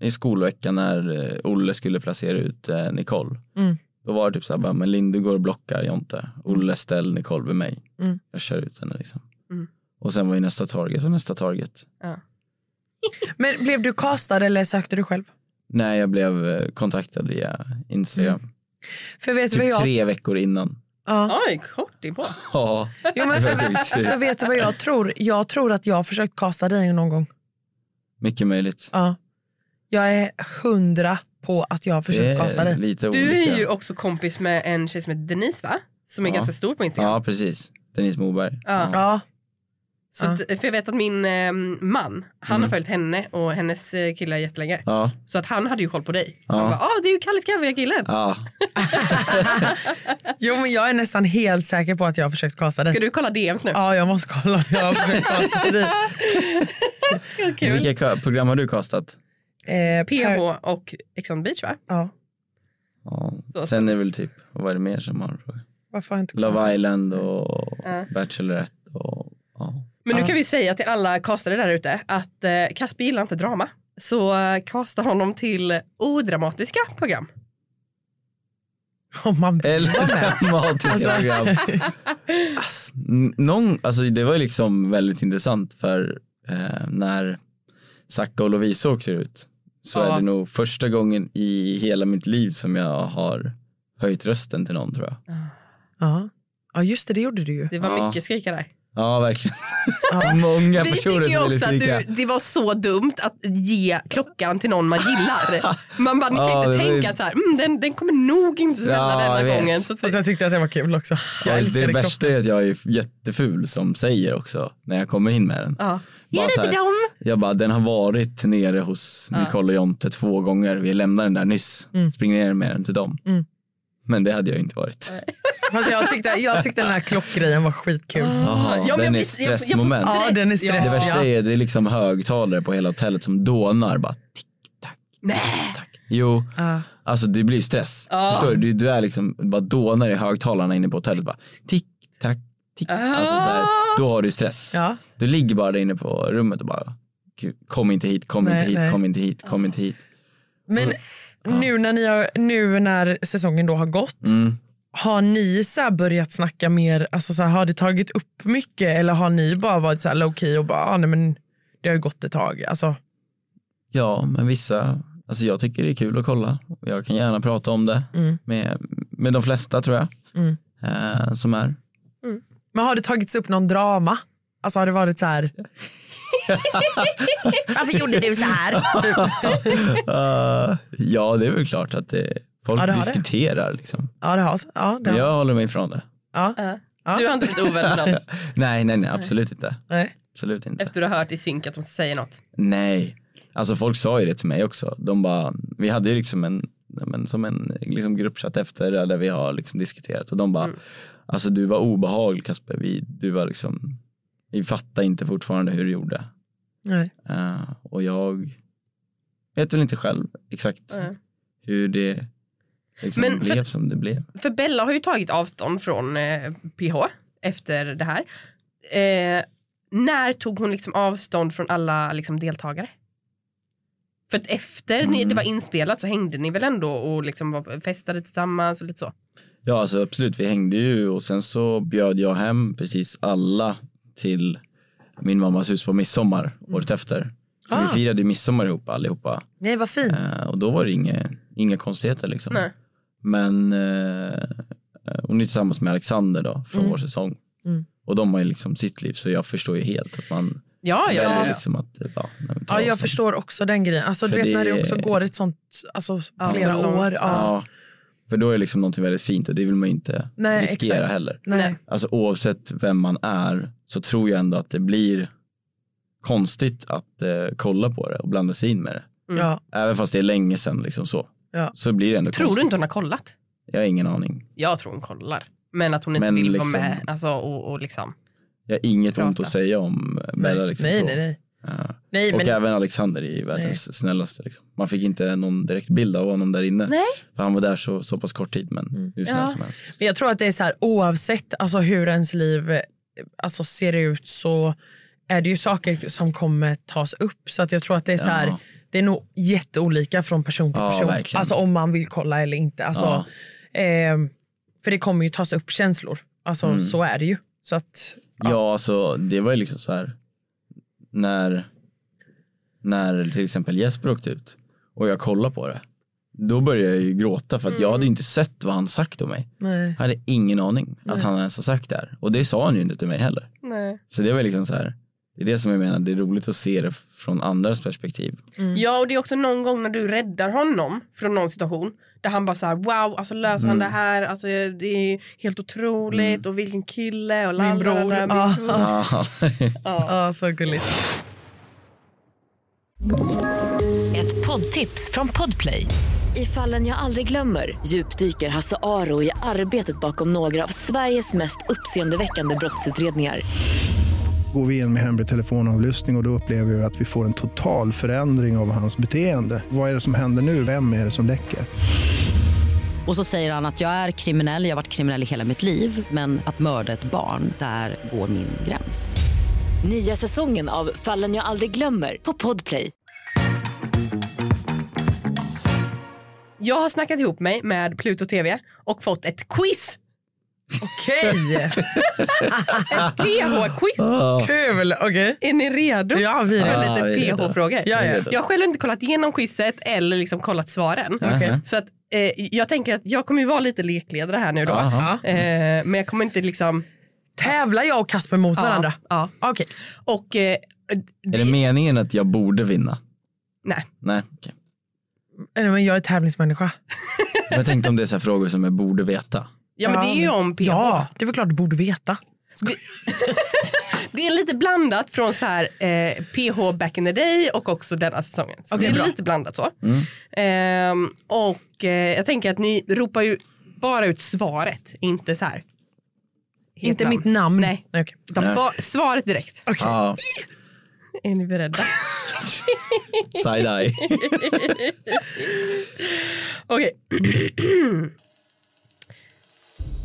Speaker 4: i skolveckan när eh, Olle skulle placera ut eh, Nicole.
Speaker 2: Mm.
Speaker 4: Då var det typ så här, bara, men Lindu går och blockar Jonte. Olle ställ Nicole vid mig.
Speaker 2: Mm.
Speaker 4: Jag kör ut henne liksom.
Speaker 3: Mm.
Speaker 4: Och sen var ju nästa target och nästa target.
Speaker 2: Men blev du castad eller sökte du själv?
Speaker 4: Nej, jag blev eh, kontaktad via Instagram.
Speaker 2: För vet du vad
Speaker 4: Typ
Speaker 2: jag...
Speaker 4: tre veckor innan.
Speaker 2: Ja.
Speaker 3: Oj, kort in på.
Speaker 4: Ja,
Speaker 2: Jo, men
Speaker 4: det
Speaker 2: för,
Speaker 4: var typ sjukt.
Speaker 2: för vet du vad jag tror? Jag tror att jag har försökt kasta dig någon gång.
Speaker 4: Mycket möjligt.
Speaker 2: Ja. Jag är hundra på att jag har
Speaker 4: Det
Speaker 2: försökt kasta
Speaker 4: är
Speaker 2: dig.
Speaker 4: lite
Speaker 3: Du
Speaker 4: olika.
Speaker 3: är ju också kompis med en tjej som heter Denise va? Som är
Speaker 4: Ja.
Speaker 3: ganska stor på Instagram.
Speaker 4: Ja, precis. Denise Moberg.
Speaker 3: Ja.
Speaker 2: Ja.
Speaker 3: Så
Speaker 2: Ja.
Speaker 3: att, för jag vet att min eh, man, han
Speaker 4: Mm.
Speaker 3: har följt henne och hennes eh, kille jättelänge.
Speaker 4: Ja,
Speaker 3: Så att han hade ju koll på dig.
Speaker 4: Ja.
Speaker 3: Han bara, ah, det är ju Kalles kaffe killen.
Speaker 4: ja.
Speaker 2: Jo, men jag är nästan helt säker på att jag har försökt kasta dig.
Speaker 3: Ska du kolla DMs nu?
Speaker 2: Ja, jag måste kolla om jag har försökt kasta dig.
Speaker 4: Men
Speaker 3: Kul.
Speaker 4: Vilka ka- program har du kastat?
Speaker 2: Eh, per-
Speaker 3: PH och Ex on the beach va?
Speaker 2: Ja.
Speaker 4: Ja.
Speaker 3: Så.
Speaker 4: Sen är det väl typ, vad är det mer som har
Speaker 2: Varför har jag inte kollat?
Speaker 4: Love Island och
Speaker 3: Ja.
Speaker 4: Bachelorette och ja.
Speaker 3: Men nu
Speaker 2: Ja.
Speaker 3: kan vi säga till alla castare där ute att eh, Kasper gillar inte drama. Så eh, casta honom till odramatiska program.
Speaker 2: Om man vill
Speaker 4: Eller
Speaker 2: vara med.
Speaker 3: Alltså.
Speaker 4: dramatiska program. Ass, n- Någon, alltså det var ju liksom väldigt intressant för eh, när Zacka och Lovisa åkte ut så
Speaker 3: Ja.
Speaker 4: är det nog första gången i hela mitt liv som jag har höjt rösten till någon tror jag.
Speaker 2: Ja. ja, just det, det gjorde du ju.
Speaker 3: Det var
Speaker 4: Ja.
Speaker 3: mycket skrika där.
Speaker 4: Ja, verkligen. Många
Speaker 3: Vi
Speaker 4: personer
Speaker 3: tycker ju
Speaker 4: som ville
Speaker 3: också att
Speaker 4: skrika.
Speaker 3: du, det var så dumt att ge klockan till någon man gillar. Man bara, ni kan
Speaker 4: Ja,
Speaker 3: inte
Speaker 4: det var ju-
Speaker 3: tänka att så här, mm, den, den kommer nog inte smälla
Speaker 4: Ja, jag
Speaker 3: denna
Speaker 4: vet.
Speaker 3: gången. Så att vi,
Speaker 2: Alltså, jag tyckte att det var kul också. Jag
Speaker 4: Ja,
Speaker 2: älskade
Speaker 4: det
Speaker 2: kroppen.
Speaker 4: värsta är att jag är jätteful som säger också när jag kommer in med den.
Speaker 3: ja.
Speaker 4: Bara
Speaker 3: Är det
Speaker 4: så
Speaker 3: inte
Speaker 4: här,
Speaker 3: dem?
Speaker 4: Jag bara, den har varit nere hos Nicole och Jonte två gånger. Vi lämnade den där nyss.
Speaker 3: Mm.
Speaker 4: Spring ner med den till dem. Men det hade jag inte varit.
Speaker 2: Fast jag tyckte, jag tyckte den här klockgrejen var skitkul.
Speaker 4: Jaha,
Speaker 3: Ja, men
Speaker 4: den
Speaker 3: jag
Speaker 4: är
Speaker 3: visste- jag- jag får-
Speaker 4: stressmoment.
Speaker 2: Ah. Ja, den är stress.
Speaker 4: Det värsta
Speaker 2: ja.
Speaker 4: är det är liksom högtalare på hela hotellet som dånar. Bara, tick, tack, tick, tack. Jo,
Speaker 2: Ja.
Speaker 4: alltså det blir stress. Förstår du? Du, du är liksom, bara dånar i högtalarna inne på hotellet. Bara, tick, tack, tick. Alltså, så här, då har du stress.
Speaker 2: Ah. Ja.
Speaker 4: Du ligger bara där inne på rummet och bara, "Gud, kom inte hit, kom
Speaker 2: Nej,
Speaker 4: inte hit,
Speaker 2: nej.
Speaker 4: kom inte hit, kom inte hit. Alltså,
Speaker 2: Men nu när, ni har, nu när säsongen då har gått,
Speaker 4: Mm.
Speaker 2: har ni så här börjat snacka mer, alltså så här, har det tagit upp mycket eller har ni bara varit så här low key och bara, ah, nej men det har ju gått ett tag. Alltså,
Speaker 4: Ja, men vissa, alltså jag tycker det är kul att kolla. Jag kan gärna prata om det
Speaker 2: Mm.
Speaker 4: med, med de flesta tror jag.
Speaker 2: Mm.
Speaker 4: Eh, som är.
Speaker 2: men har det tagits upp någon drama? Alltså har det varit så här,
Speaker 5: Varför gjorde du så här?
Speaker 4: Eh, ja, det är väl klart att det, folk
Speaker 2: Ja, det har det.
Speaker 4: diskuterar. Liksom.
Speaker 2: ja det har, ja, det
Speaker 4: Men
Speaker 2: har.
Speaker 4: jag håller mig ifrån det.
Speaker 2: Ja. Ja.
Speaker 3: Du har inte blivit ovän med någon
Speaker 4: Nej, nej, nej, absolut inte.
Speaker 2: Nej.
Speaker 4: Absolut inte.
Speaker 3: efter du har hört i synk att de säger något.
Speaker 4: Nej, alltså folk sa ju det till mig också. De bara, vi hade ju liksom en, ja, men som en liksom gruppchatt efter det där vi har liksom diskuterat och de bara,
Speaker 2: Mm.
Speaker 4: alltså du var obehaglig Kasper, vi, du var liksom, vi fattar inte fortfarande hur du gjorde.
Speaker 2: Nej.
Speaker 4: Eh, och jag vet väl inte själv exakt
Speaker 3: Nej.
Speaker 4: hur det liksom
Speaker 3: Men för-
Speaker 4: blev som det blev.
Speaker 3: För Bella har ju tagit avstånd från eh, PH efter det här. Eh, när tog hon liksom avstånd från alla liksom, deltagare? För att efter ni, det var
Speaker 4: Mm.
Speaker 3: inspelat så hängde ni väl ändå och liksom var, festade tillsammans och lite så.
Speaker 4: Ja, alltså absolut. Vi hängde ju och sen så bjöd jag hem precis alla till min mammas hus på midsommar året efter. Så
Speaker 2: Mm. Ah. Mm.
Speaker 4: vi firade ju midsommar ihop allihopa.
Speaker 2: Nej, vad fint.
Speaker 4: Eh, och då var det inga, inga konstigheter liksom.
Speaker 3: Nej.
Speaker 4: Men eh, hon är tillsammans med Alexander då från vår säsong.
Speaker 2: Mm.
Speaker 4: Och de har ju liksom sitt liv så jag förstår ju helt att man
Speaker 2: Ah,
Speaker 3: Ja, ja.
Speaker 4: väljer liksom att eh, ja, nej, men ta
Speaker 2: Ja, jag
Speaker 4: avstånd.
Speaker 2: förstår också den grejen. Alltså, du
Speaker 4: För
Speaker 2: vet
Speaker 4: det
Speaker 2: när det
Speaker 4: är-
Speaker 2: också går ett sånt, alltså
Speaker 3: Ja,
Speaker 2: flera
Speaker 3: så långt.
Speaker 2: år. Ja.
Speaker 4: Ja, för då är det liksom någonting väldigt fint och det vill man ju inte
Speaker 2: Nej,
Speaker 4: riskera
Speaker 2: exakt.
Speaker 4: heller.
Speaker 2: Nej.
Speaker 4: Alltså oavsett vem man är så tror jag ändå att det blir konstigt att eh, kolla på det och blanda sig in med det.
Speaker 2: Ja.
Speaker 4: Även fast det är länge sedan liksom så.
Speaker 2: Ja.
Speaker 4: Så blir det ändå
Speaker 3: Tror du
Speaker 4: konstigt.
Speaker 3: inte hon har kollat?
Speaker 4: Jag har ingen aning.
Speaker 3: Jag tror hon kollar. Men att hon inte
Speaker 4: Men
Speaker 3: vill
Speaker 4: liksom-
Speaker 3: vara med. Alltså, och, och liksom.
Speaker 4: Jag har inget
Speaker 3: Prata.
Speaker 4: ont att säga om Bella. Liksom
Speaker 2: nej,
Speaker 4: så.
Speaker 2: nej, nej.
Speaker 4: Ja.
Speaker 2: nej
Speaker 4: Och
Speaker 2: men,
Speaker 4: även Alexander är ju världens snällaste. Liksom. Man fick inte någon direkt bild av honom där inne.
Speaker 3: Nej.
Speaker 4: För han var där så, så pass kort tid men
Speaker 2: Mm.
Speaker 4: hur snäll
Speaker 3: Ja.
Speaker 4: som helst.
Speaker 2: Men jag tror att det är så här, oavsett alltså, hur ens liv eh, alltså, ser ut så är det ju saker som kommer tas upp. Så att jag tror att det är så här,
Speaker 4: Ja.
Speaker 2: det är nog jätteolika från person till
Speaker 4: Ja,
Speaker 2: person.
Speaker 4: verkligen.
Speaker 2: alltså om man vill kolla eller inte. Alltså, ehm, för det kommer ju tas upp känslor. Alltså
Speaker 4: Mm.
Speaker 2: så är det ju. Så att,
Speaker 4: Ja, alltså det var ju liksom så här när, när till exempel Jesper åkte ut och jag kollade på det. Då började jag ju gråta för att jag hade ju inte sett vad han sagt om mig.
Speaker 2: nej.
Speaker 4: Jag hade ingen aning att han ens har sagt det här. Och det sa han ju inte till mig heller.
Speaker 3: Nej.
Speaker 4: Så det var liksom så här, det är det som jag menar, det är roligt att se det från andras perspektiv.
Speaker 2: Mm.
Speaker 3: Ja, och det är också någon gång när du räddar honom från någon situation där han bara så här wow, alltså löser han
Speaker 2: Mm.
Speaker 3: det här, alltså det är helt otroligt och vilken kille och
Speaker 2: Min
Speaker 3: lalala,
Speaker 2: bror.
Speaker 3: min
Speaker 2: Ja.
Speaker 3: bror.
Speaker 4: Ja.
Speaker 2: Ja, så gulligt.
Speaker 1: Ett poddtips från Podplay. I fallen jag aldrig glömmer djupdyker Hasse Aro i arbetet bakom några av Sveriges mest uppseendeväckande brottsutredningar.
Speaker 6: Går vi in med hemlig telefonavlyssning och, och då upplever vi att vi får en total förändring av hans beteende. Vad är det som händer nu? Vem är det som läcker?
Speaker 5: Och så säger han att jag är kriminell, jag har varit kriminell i hela mitt liv men att mörda ett barn, där går min gräns.
Speaker 1: Nya säsongen av Fallen jag aldrig glömmer på Podplay.
Speaker 3: Jag har snackat ihop mig med Pluto TV och fått ett quiz,
Speaker 2: Okej,
Speaker 3: PH-quiz.
Speaker 2: kul. Okej.
Speaker 3: Är ni redo?
Speaker 2: Ja, vi
Speaker 3: För
Speaker 2: är
Speaker 4: Ah. Ja, vi är
Speaker 3: lite
Speaker 4: redo.
Speaker 3: PH-frågor.
Speaker 2: Ja, ja.
Speaker 3: Jag har själv inte kollat igenom quizet eller liksom kollat svaren.
Speaker 4: Okej.
Speaker 3: Så att, eh, jag tänker att jag kommer ju vara lite lekledare här nu då.
Speaker 4: Aha.
Speaker 3: Eh, men jag kommer inte liksom...
Speaker 2: Tävlar jag och Kasper mot varandra?
Speaker 3: Ja.
Speaker 2: Okej.
Speaker 3: Och eh,
Speaker 4: Är det meningen att jag borde vinna?
Speaker 3: nej.
Speaker 4: Nej, okej.
Speaker 2: Nej, men jag är tävlingsmänniska.
Speaker 4: Jag tänkte om det är så här frågor som jag borde veta.
Speaker 3: Ja, men det är ju om PH.
Speaker 2: Ja, det är väl klart du borde veta.
Speaker 3: det är lite blandat från så här, eh, PH back in the day och också denna säsongen. Så det är lite blandat så.
Speaker 2: Mm.
Speaker 3: Ehm, och eh, jag tänker att ni ropar ju bara ut svaret, inte så här. helt
Speaker 2: Inte
Speaker 3: namn.
Speaker 2: mitt namn. Äh.
Speaker 3: Nej.
Speaker 2: okej.
Speaker 3: Utan ba- svaret direkt.
Speaker 4: Ja,
Speaker 3: Är ni beredda?
Speaker 4: side-eye.
Speaker 3: Okej.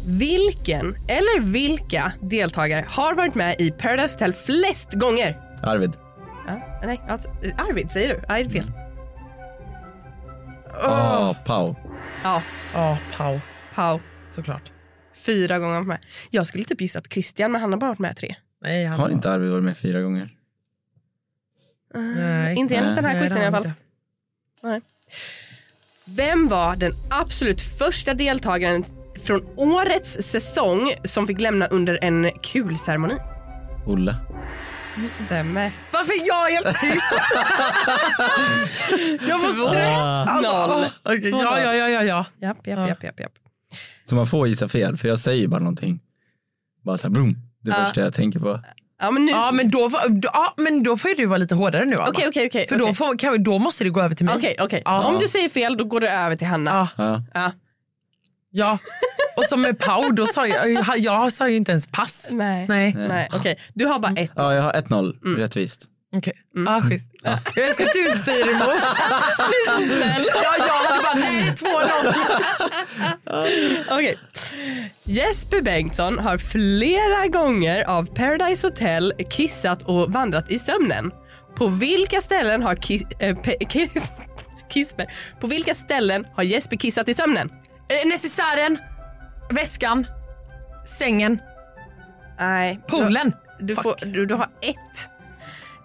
Speaker 3: Vilken eller vilka deltagare har varit med i Paradise Hotel flest gånger?
Speaker 4: Arvid.
Speaker 3: Ja, nej, alltså, Arvid säger du. Nej, det är fel.
Speaker 4: Ah, Pau.
Speaker 3: Ja,
Speaker 2: Ja, Pau.
Speaker 3: Pau.
Speaker 2: Såklart.
Speaker 3: Fyra gånger har varit med. Jag skulle typ gissa att Christian, men han har bara varit med tre.
Speaker 2: Nej, han
Speaker 4: Har inte Arvid varit med fyra gånger?
Speaker 2: Nej.
Speaker 3: Inte enligt
Speaker 4: Nej.
Speaker 3: den här
Speaker 2: Nej, det
Speaker 3: quizen i
Speaker 2: har
Speaker 3: alla
Speaker 2: han
Speaker 3: fall.
Speaker 2: inte.
Speaker 3: Vem var den absolut första deltagaren från årets säsong som fick lämna under en kulceremoni?
Speaker 4: Olle.
Speaker 3: Stämmer.
Speaker 2: Varför är jag helt tyst? jag får stress.
Speaker 3: Noll.
Speaker 2: Okej, ja, ja, ja, ja, ja.
Speaker 3: Japp, japp, japp, japp, japp.
Speaker 4: Så man får gissa fel, för jag säger bara någonting. Bara såhär, brum. Det
Speaker 3: Ja.
Speaker 4: första jag tänker på.
Speaker 3: Ja, men nu...
Speaker 2: Ja, men då, var- då- ja, men då får ju du vara lite hårdare nu, Anna.
Speaker 3: Okej, okej, okej.
Speaker 2: För då,
Speaker 3: okej.
Speaker 2: får, kan, då måste det gå över till mig.
Speaker 3: Okej, okej.
Speaker 2: Ja.
Speaker 3: Om du säger fel då går det över till Hanna.
Speaker 2: Ja.
Speaker 4: Ja.
Speaker 3: Ja.
Speaker 2: Ja. Och som med Pau, då sa jag, jag sa ju inte ens pass.
Speaker 3: Nej. Nej.
Speaker 2: Nej.
Speaker 3: Okej, du har bara ett.
Speaker 4: ja, jag har 1-0.
Speaker 3: Mm.
Speaker 4: Rättvist.
Speaker 2: Okej. Ah, schysst. Jag älskar att du inte säger emot. ja, jag hade bara, nej det är två noll.
Speaker 3: Okej. Jesper Bengtsson har flera gånger av Paradise Hotel kissat och vandrat i sömnen. På vilka ställen har ki- eh, pe- kiss- Kisper. På vilka ställen har Jesper kissat i sömnen?
Speaker 2: Eh, Necessären, väskan, sängen,
Speaker 3: Nej.
Speaker 2: poolen.
Speaker 3: Du,
Speaker 2: Fuck.
Speaker 3: får, du, du har ett.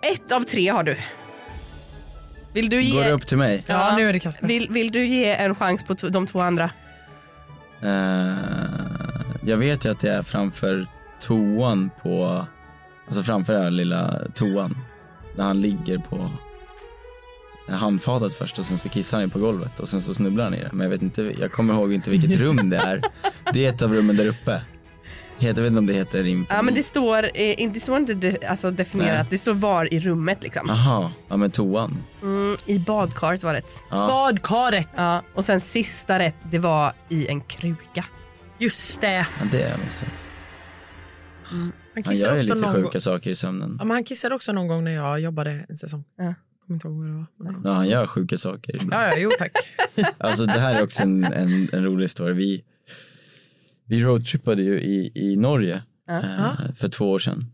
Speaker 3: Ett av tre har du. Vill du
Speaker 4: Går
Speaker 3: ge...
Speaker 4: det upp till mig?
Speaker 2: Ja, nu är det Kasper.
Speaker 3: Vill, vill du ge en chans på t- de två andra?
Speaker 4: Eh, jag vet ju att det är framför toan på... Alltså framför den här lilla toan. När han ligger på handfatet först och sen så kissar han ju på golvet och sen så snubblar han i det. Men jag vet inte, jag kommer ihåg inte vilket rum det är. Det är ett av rummen där uppe. Jag vet inte om det heter inför.
Speaker 3: Ja, men det står, eh, inte- det står inte de, alltså definierat,
Speaker 4: Nej.
Speaker 3: det står var i rummet. Liksom.
Speaker 4: Aha, ja men toan.
Speaker 3: I badkaret var rätt.
Speaker 4: Ja.
Speaker 2: Badkaret.
Speaker 3: Ja, och sen sista rätt, det var i en kruka.
Speaker 2: Just det.
Speaker 4: Ja, det har jag missat.
Speaker 2: Han
Speaker 4: Han gör
Speaker 2: kissade
Speaker 4: ju
Speaker 2: också
Speaker 4: lite
Speaker 2: någon gång.
Speaker 4: sjuka saker i sömnen.
Speaker 2: Ja, men han kissade också någon gång när jag jobbade en säsong.
Speaker 3: Ja.
Speaker 2: Kommer inte ihåg vad det var. men-
Speaker 4: Ja, han gör sjuka saker.
Speaker 2: Ja, ja, jo tack.
Speaker 4: Alltså det här är också en, en, en rolig historia. Vi, vi roadtrippade ju i, i Norge eh, för två år sedan.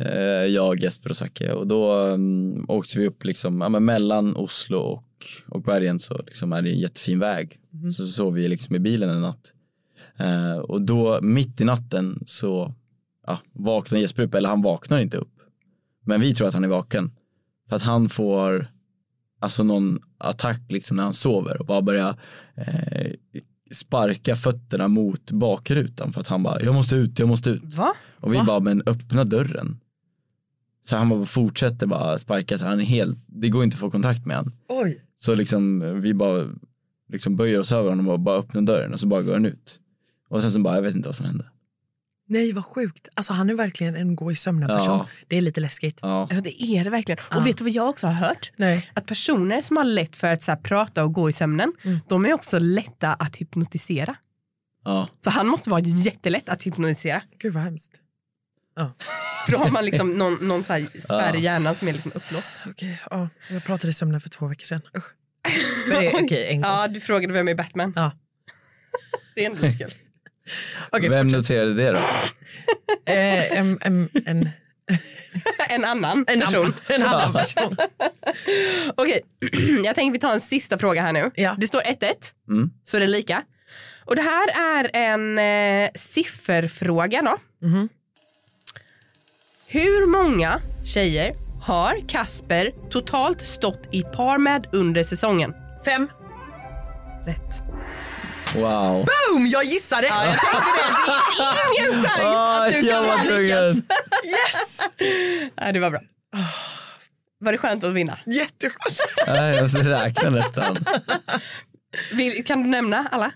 Speaker 4: Eh, jag, Jesper och Zacke. Och då mm, åkte vi upp liksom, ja, men mellan Oslo och, och bergen så liksom är det en jättefin väg. Så sov vi liksom i bilen en natt. Eh, och då mitt i natten så ja, vaknar Jesper upp, eller han vaknar inte upp. Men vi tror att han är vaken. För att han får alltså någon attack liksom när han sover och bara börjar eh, sparka fötterna mot bakrutan för att han bara, jag måste ut, jag måste ut.
Speaker 3: Va?
Speaker 4: Och vi bara, men öppna dörren. Så han bara fortsätter bara sparka, så han är helt, det går inte att få kontakt med han.
Speaker 2: Oj.
Speaker 4: Så liksom eh, vi bara liksom böjer oss över honom och bara öppnar dörren och så bara går han ut. Och sen så bara, jag vet inte vad som hände.
Speaker 2: Nej, vad sjukt. Alltså, han är verkligen en gå i sömnen person.
Speaker 4: Ja.
Speaker 2: Det är lite läskigt.
Speaker 4: Ja.
Speaker 3: Ja, det är det verkligen. Och vet du vad jag också har hört?
Speaker 2: Nej.
Speaker 3: Att personer som har lätt för att så här, prata och gå i sömnen, de är också lätta att hypnotisera.
Speaker 4: ja.
Speaker 3: Så han måste vara jättelätt att hypnotisera.
Speaker 2: Gud vad hemskt.
Speaker 3: För då har man liksom någon, någon så här spärr i
Speaker 4: Ja.
Speaker 3: hjärnan som är liksom uppblåst.
Speaker 2: Okej, ja. Jag pratade i sömnen för två veckor sedan. Usch. Men det är Okej, en gång.
Speaker 3: Ja, du frågade vem är Batman?
Speaker 2: Ja.
Speaker 3: det är ändå lite kul.
Speaker 2: Okej,
Speaker 4: Vem noterade det då?
Speaker 2: eh, en, en, en,
Speaker 3: En annan
Speaker 2: en,
Speaker 3: person.
Speaker 2: annan, en annan person.
Speaker 3: Okej, jag tänker vi tar en sista fråga här nu.
Speaker 2: Ja.
Speaker 3: Det står 1-1,
Speaker 4: Mm.
Speaker 3: så det är lika. Och det här är en eh, sifferfråga då.
Speaker 2: Mhm.
Speaker 3: Hur många tjejer har Kasper totalt stått i par med under säsongen?
Speaker 2: Fem.
Speaker 3: Rätt.
Speaker 4: Wow.
Speaker 2: Boom, jag gissade!
Speaker 3: Ingen chans att du
Speaker 4: Ah, jag
Speaker 3: kan
Speaker 4: var
Speaker 3: ha lyckats.
Speaker 4: tvungen.
Speaker 2: Yes!
Speaker 3: Nej, det var bra. Var det skönt att vinna?
Speaker 2: Jätteskönt.
Speaker 4: Nej, Jag måste räkna nästan.
Speaker 3: Vill, kan du nämna alla?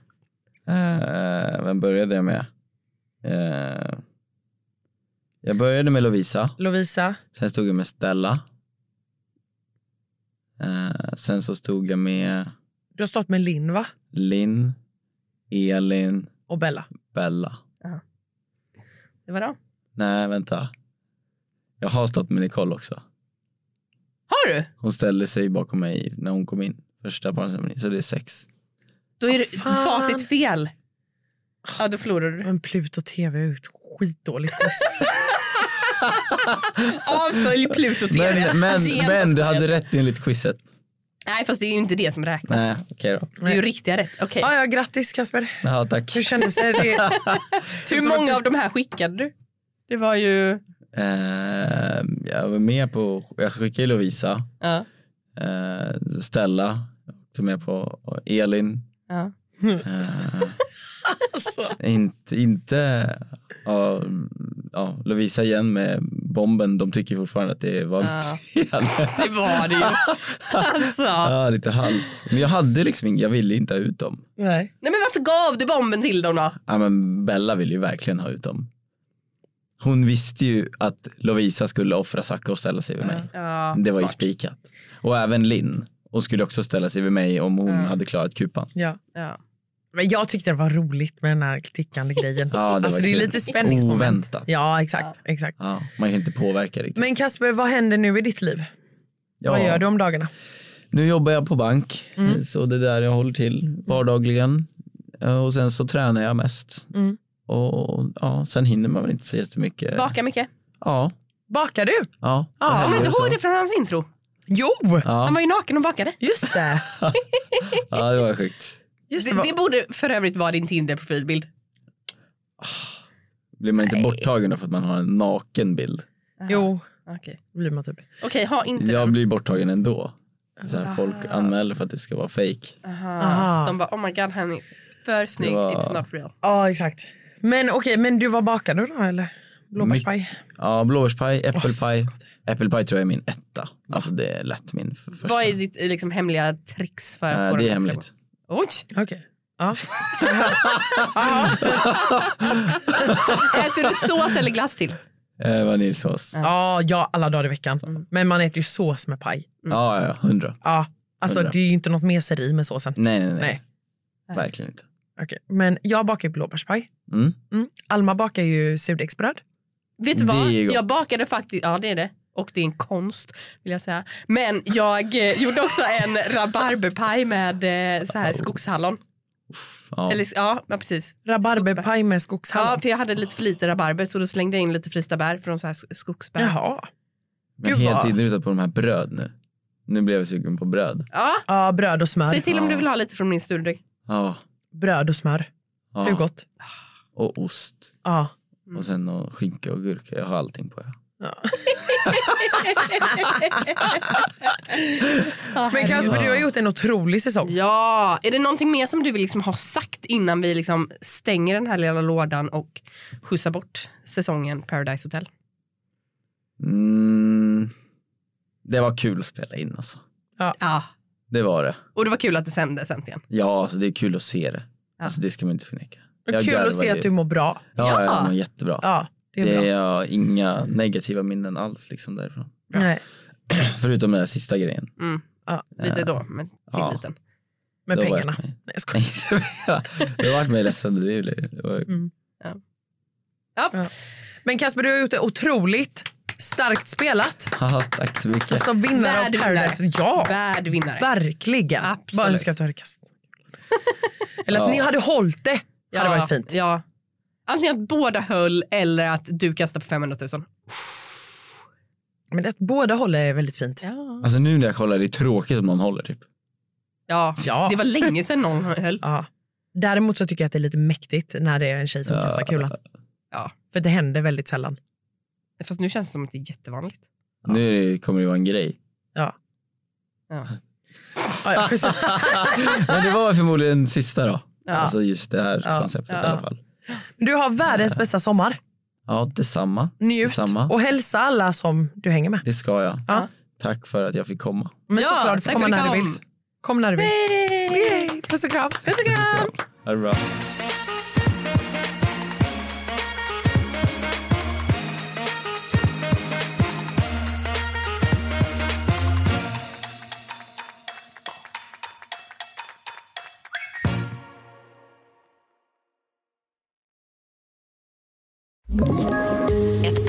Speaker 4: Eh, vem började jag med? Eh, Jag började med Lovisa,
Speaker 2: Lovisa.
Speaker 4: sen stod jag med Stella. Eh, sen så stod jag med
Speaker 2: Du har stått med Linn va?
Speaker 4: Linn, Elin,
Speaker 2: Och Bella.
Speaker 4: Bella.
Speaker 3: Det var då.
Speaker 4: Nej, vänta. Jag har stått med Nicole också.
Speaker 3: Har du?
Speaker 4: Hon ställde sig bakom mig när hon kom in. Första parceremonin, så det är sex.
Speaker 3: Då är det
Speaker 2: Fan.
Speaker 3: facit fel. Ja, då förlorade du.
Speaker 2: Men Pluto TV är ju ett skitdåligt quiz.
Speaker 3: Avfölj Pluto TV.
Speaker 4: Men, men,
Speaker 3: Det är
Speaker 4: men du
Speaker 3: ändå-
Speaker 4: hade rätt enligt quizet.
Speaker 3: Alltså, Nej, fast det är ju inte det som räknas.
Speaker 4: Nej, okej då.
Speaker 3: Det är ju riktiga rätt. Okej.
Speaker 2: ah, ja, grattis Kasper.
Speaker 4: Ja, tack.
Speaker 2: Hur kändes det? det
Speaker 3: Hur många av de här skickade du? Det var ju...
Speaker 4: Eh, jag var med på, jag skickade ju Lovisa,
Speaker 3: Ja.
Speaker 4: eh, Stella, tog med på och Elin.
Speaker 3: Ja.
Speaker 4: Eh,
Speaker 3: Alltså.
Speaker 4: inte, Eh, inte ja, mm, ja, Lovisa igen med bomben. De tycker fortfarande att det var
Speaker 3: Ja.
Speaker 4: lite fel.
Speaker 3: Det var det ju. Alltså.
Speaker 4: Ja, lite halvt. Men jag hade liksom ing- jag ville inte ha ut dem.
Speaker 2: Nej.
Speaker 3: Nej, men varför gav du bomben till dem då?
Speaker 4: Ja, men Bella ville ju verkligen ha ut dem. Hon visste ju att Lovisa skulle offra Zacke och ställa sig vid mig.
Speaker 3: Ja,
Speaker 4: Det var ju spikat. Och även Linn. Hon skulle också ställa sig vid mig om hon hade klarat kupan.
Speaker 2: Ja.
Speaker 3: Ja.
Speaker 2: Men jag tyckte det var roligt med den här tickande grejen.
Speaker 4: Ja, det var
Speaker 2: alltså, det är
Speaker 4: kul.
Speaker 2: lite spänningsmoment.
Speaker 4: Oväntat.
Speaker 2: Ja, exakt, exakt.
Speaker 4: Ja, man kan inte påverka riktigt.
Speaker 2: Men Kasper, vad händer nu i ditt liv?
Speaker 4: ja,
Speaker 2: Vad gör du Mm. om dagarna?
Speaker 4: Nu jobbar jag på bank, så det är där jag håller till vardagligen. Eh, Och sen så tränar jag mest.
Speaker 2: Mm.
Speaker 4: Och ja, sen hinner man väl inte så jättemycket.
Speaker 3: Baka mycket.
Speaker 4: Ja,
Speaker 2: Bakar du?
Speaker 4: ja.
Speaker 2: Ja,
Speaker 4: det
Speaker 3: Kommer
Speaker 4: händer
Speaker 3: du inte
Speaker 4: så.
Speaker 3: ihåg det från hans intro?
Speaker 2: Jo!
Speaker 3: Han
Speaker 4: Ja,
Speaker 3: var ju naken och bakade.
Speaker 2: Just det.
Speaker 4: ja det var sjukt.
Speaker 2: Just det,
Speaker 3: Det, det borde för övrigt vara din Tinder-profilbild.
Speaker 4: Blir man inte borttagen då för att man har en naken bild?
Speaker 2: Jo,
Speaker 3: Okej,
Speaker 2: det blir man typ.
Speaker 3: Okej, ha inte
Speaker 4: Jag
Speaker 3: den.
Speaker 4: blir borttagen ändå. Så
Speaker 2: Ah.
Speaker 4: här, folk anmäler för att det ska vara fake.
Speaker 2: Aha.
Speaker 3: Aha. De bara, oh my god honey, för snygg,
Speaker 4: Det var-
Speaker 3: it's not real.
Speaker 2: Ja, exakt. Men okej, men du var bakar du då eller? Blåbärspaj?
Speaker 4: Ja, blåbärspaj, äppelpaj.
Speaker 2: Åh, så
Speaker 4: äppelpaj tror jag är min etta. Alltså det är lätt min f- första.
Speaker 3: Vad är ditt eh, liksom, hemliga tricks för att
Speaker 4: Eh,
Speaker 3: få
Speaker 4: det
Speaker 3: dem
Speaker 4: är
Speaker 3: att
Speaker 4: hemligt.
Speaker 3: flyga? Oj,
Speaker 2: Okej. Ja.
Speaker 3: äter du sås eller glass till?
Speaker 4: Eh, Vaniljsås. Ja,
Speaker 2: Ja, mm. ja, alla dagar i veckan. Men man äter ju sås med paj.
Speaker 4: ja, ja, hundra.
Speaker 2: Ja, alltså
Speaker 4: Hundra.
Speaker 2: det är ju inte något meseri med såsen.
Speaker 4: Nej, nej, nej,
Speaker 2: Nej.
Speaker 4: Verkligen inte.
Speaker 2: Okej, Men jag bakar ju blåbärspaj.
Speaker 4: Mm.
Speaker 2: Mm. Alma bakar ju surdegsbröd.
Speaker 3: Vet du
Speaker 4: Det
Speaker 3: vad,
Speaker 4: är gott.
Speaker 3: jag bakade faktiskt, ja det är det. Och det är en konst vill jag säga. Men jag eh, gjorde också en rabarberpaj med eh, så här skogshallon.
Speaker 4: Ja.
Speaker 3: Eller, ja, ja, precis.
Speaker 2: Rabarberpaj med skogshallon.
Speaker 3: Ja, för jag hade lite för lite rabarber så då slängde jag in lite frysta bär från så här skogsbär.
Speaker 2: Jaha.
Speaker 4: Men
Speaker 2: Gud,
Speaker 4: helt
Speaker 2: vad-
Speaker 4: inrutad på de här bröd nu. Nu blev jag sugen på bröd.
Speaker 3: Ja,
Speaker 2: Ja, bröd och smör.
Speaker 3: säg till om
Speaker 4: Ja.
Speaker 3: du vill ha lite från min sturdeg.
Speaker 4: Ja,
Speaker 2: Bröd och smör.
Speaker 4: ja.
Speaker 2: Hur gott? Mm.
Speaker 4: Och ost.
Speaker 2: Ja.
Speaker 4: Och sen och skinka och gurka. Jag har allting på. Jag.
Speaker 2: Men Kasper, du har gjort en otrolig säsong.
Speaker 3: Ja, är det någonting mer som du vill liksom ha sagt innan vi liksom stänger den här lilla lådan och skjutsar bort säsongen Paradise Hotel?
Speaker 4: Mm. Det var kul att spela in alltså.
Speaker 3: Ja.
Speaker 4: Det var det.
Speaker 3: Och det var kul att det sändes äntligen.
Speaker 4: Ja, alltså det är kul att se det. Alltså det ska man inte förneka. Jag
Speaker 2: Kul att
Speaker 4: garvade
Speaker 2: se
Speaker 4: ju.
Speaker 2: att du mår bra.
Speaker 4: Ja,
Speaker 3: Ja.
Speaker 4: jag mår jättebra.
Speaker 2: Ja, det är
Speaker 4: det
Speaker 2: bra.
Speaker 4: är jag inga negativa minnen alls liksom därifrån.
Speaker 2: Nej.
Speaker 4: Förutom den där sista grejen.
Speaker 3: Mm.
Speaker 2: Ja.
Speaker 4: Eh,
Speaker 3: Lite då, men tilliten.
Speaker 2: Med
Speaker 4: Då var jag
Speaker 2: pengarna.
Speaker 4: med.
Speaker 2: Nej, jag skojar.
Speaker 4: Det har varit mig ledsen. Det är ju- det var-
Speaker 2: Mm.
Speaker 3: Ja.
Speaker 2: Ja. Men Kasper, du har gjort det otroligt starkt spelat.
Speaker 4: Haha, Tack så mycket.
Speaker 2: Alltså vinnare av
Speaker 3: Värd vinnare.
Speaker 2: Paradise. Ja,
Speaker 3: Värd vinnare.
Speaker 2: verkligen.
Speaker 3: Absolut.
Speaker 2: Bara önskar att du hade kastat. Eller att
Speaker 4: Ja.
Speaker 2: ni hade hållit det.
Speaker 3: Ja.
Speaker 2: hade varit fint.
Speaker 3: Ja. Antingen att båda höll eller att du kastade på 500 000.
Speaker 2: Men att båda håller är väldigt fint.
Speaker 3: Ja.
Speaker 4: Alltså nu när jag kollar, det är tråkigt om någon håller typ.
Speaker 3: ja.
Speaker 2: Ja.
Speaker 3: Det var länge sedan någon höll.
Speaker 2: Ja. Däremot så tycker jag att det är lite mäktigt när det är en tjej som
Speaker 4: Ja.
Speaker 2: kastar kulan.
Speaker 3: Ja.
Speaker 2: För det händer väldigt sällan.
Speaker 3: Fast nu känns det som att det är jättevanligt.
Speaker 4: Nu är det, kommer det vara en grej.
Speaker 2: Ja.
Speaker 3: Ja.
Speaker 2: Ja, ja, precis.
Speaker 4: Men det var förmodligen den sista då.
Speaker 3: Ja.
Speaker 4: Alltså just det här
Speaker 2: Ja.
Speaker 4: konceptet
Speaker 2: Ja.
Speaker 4: i alla fall.
Speaker 2: du har världens bästa sommar.
Speaker 4: Ja, detsamma.
Speaker 2: Njut
Speaker 4: Detsamma.
Speaker 2: och hälsa alla som du hänger med.
Speaker 4: Det ska jag.
Speaker 2: Ja.
Speaker 4: Tack för att jag fick komma.
Speaker 2: Men
Speaker 3: Ja,
Speaker 2: såklart, du får
Speaker 3: tack
Speaker 2: komma
Speaker 3: för att
Speaker 2: när
Speaker 3: du
Speaker 2: du
Speaker 3: kom.
Speaker 2: vill. Kom när du vill.
Speaker 3: Yay!
Speaker 2: Yay, Puss och kram.
Speaker 3: Puss och kram!
Speaker 4: Ha det bra.
Speaker 1: Ett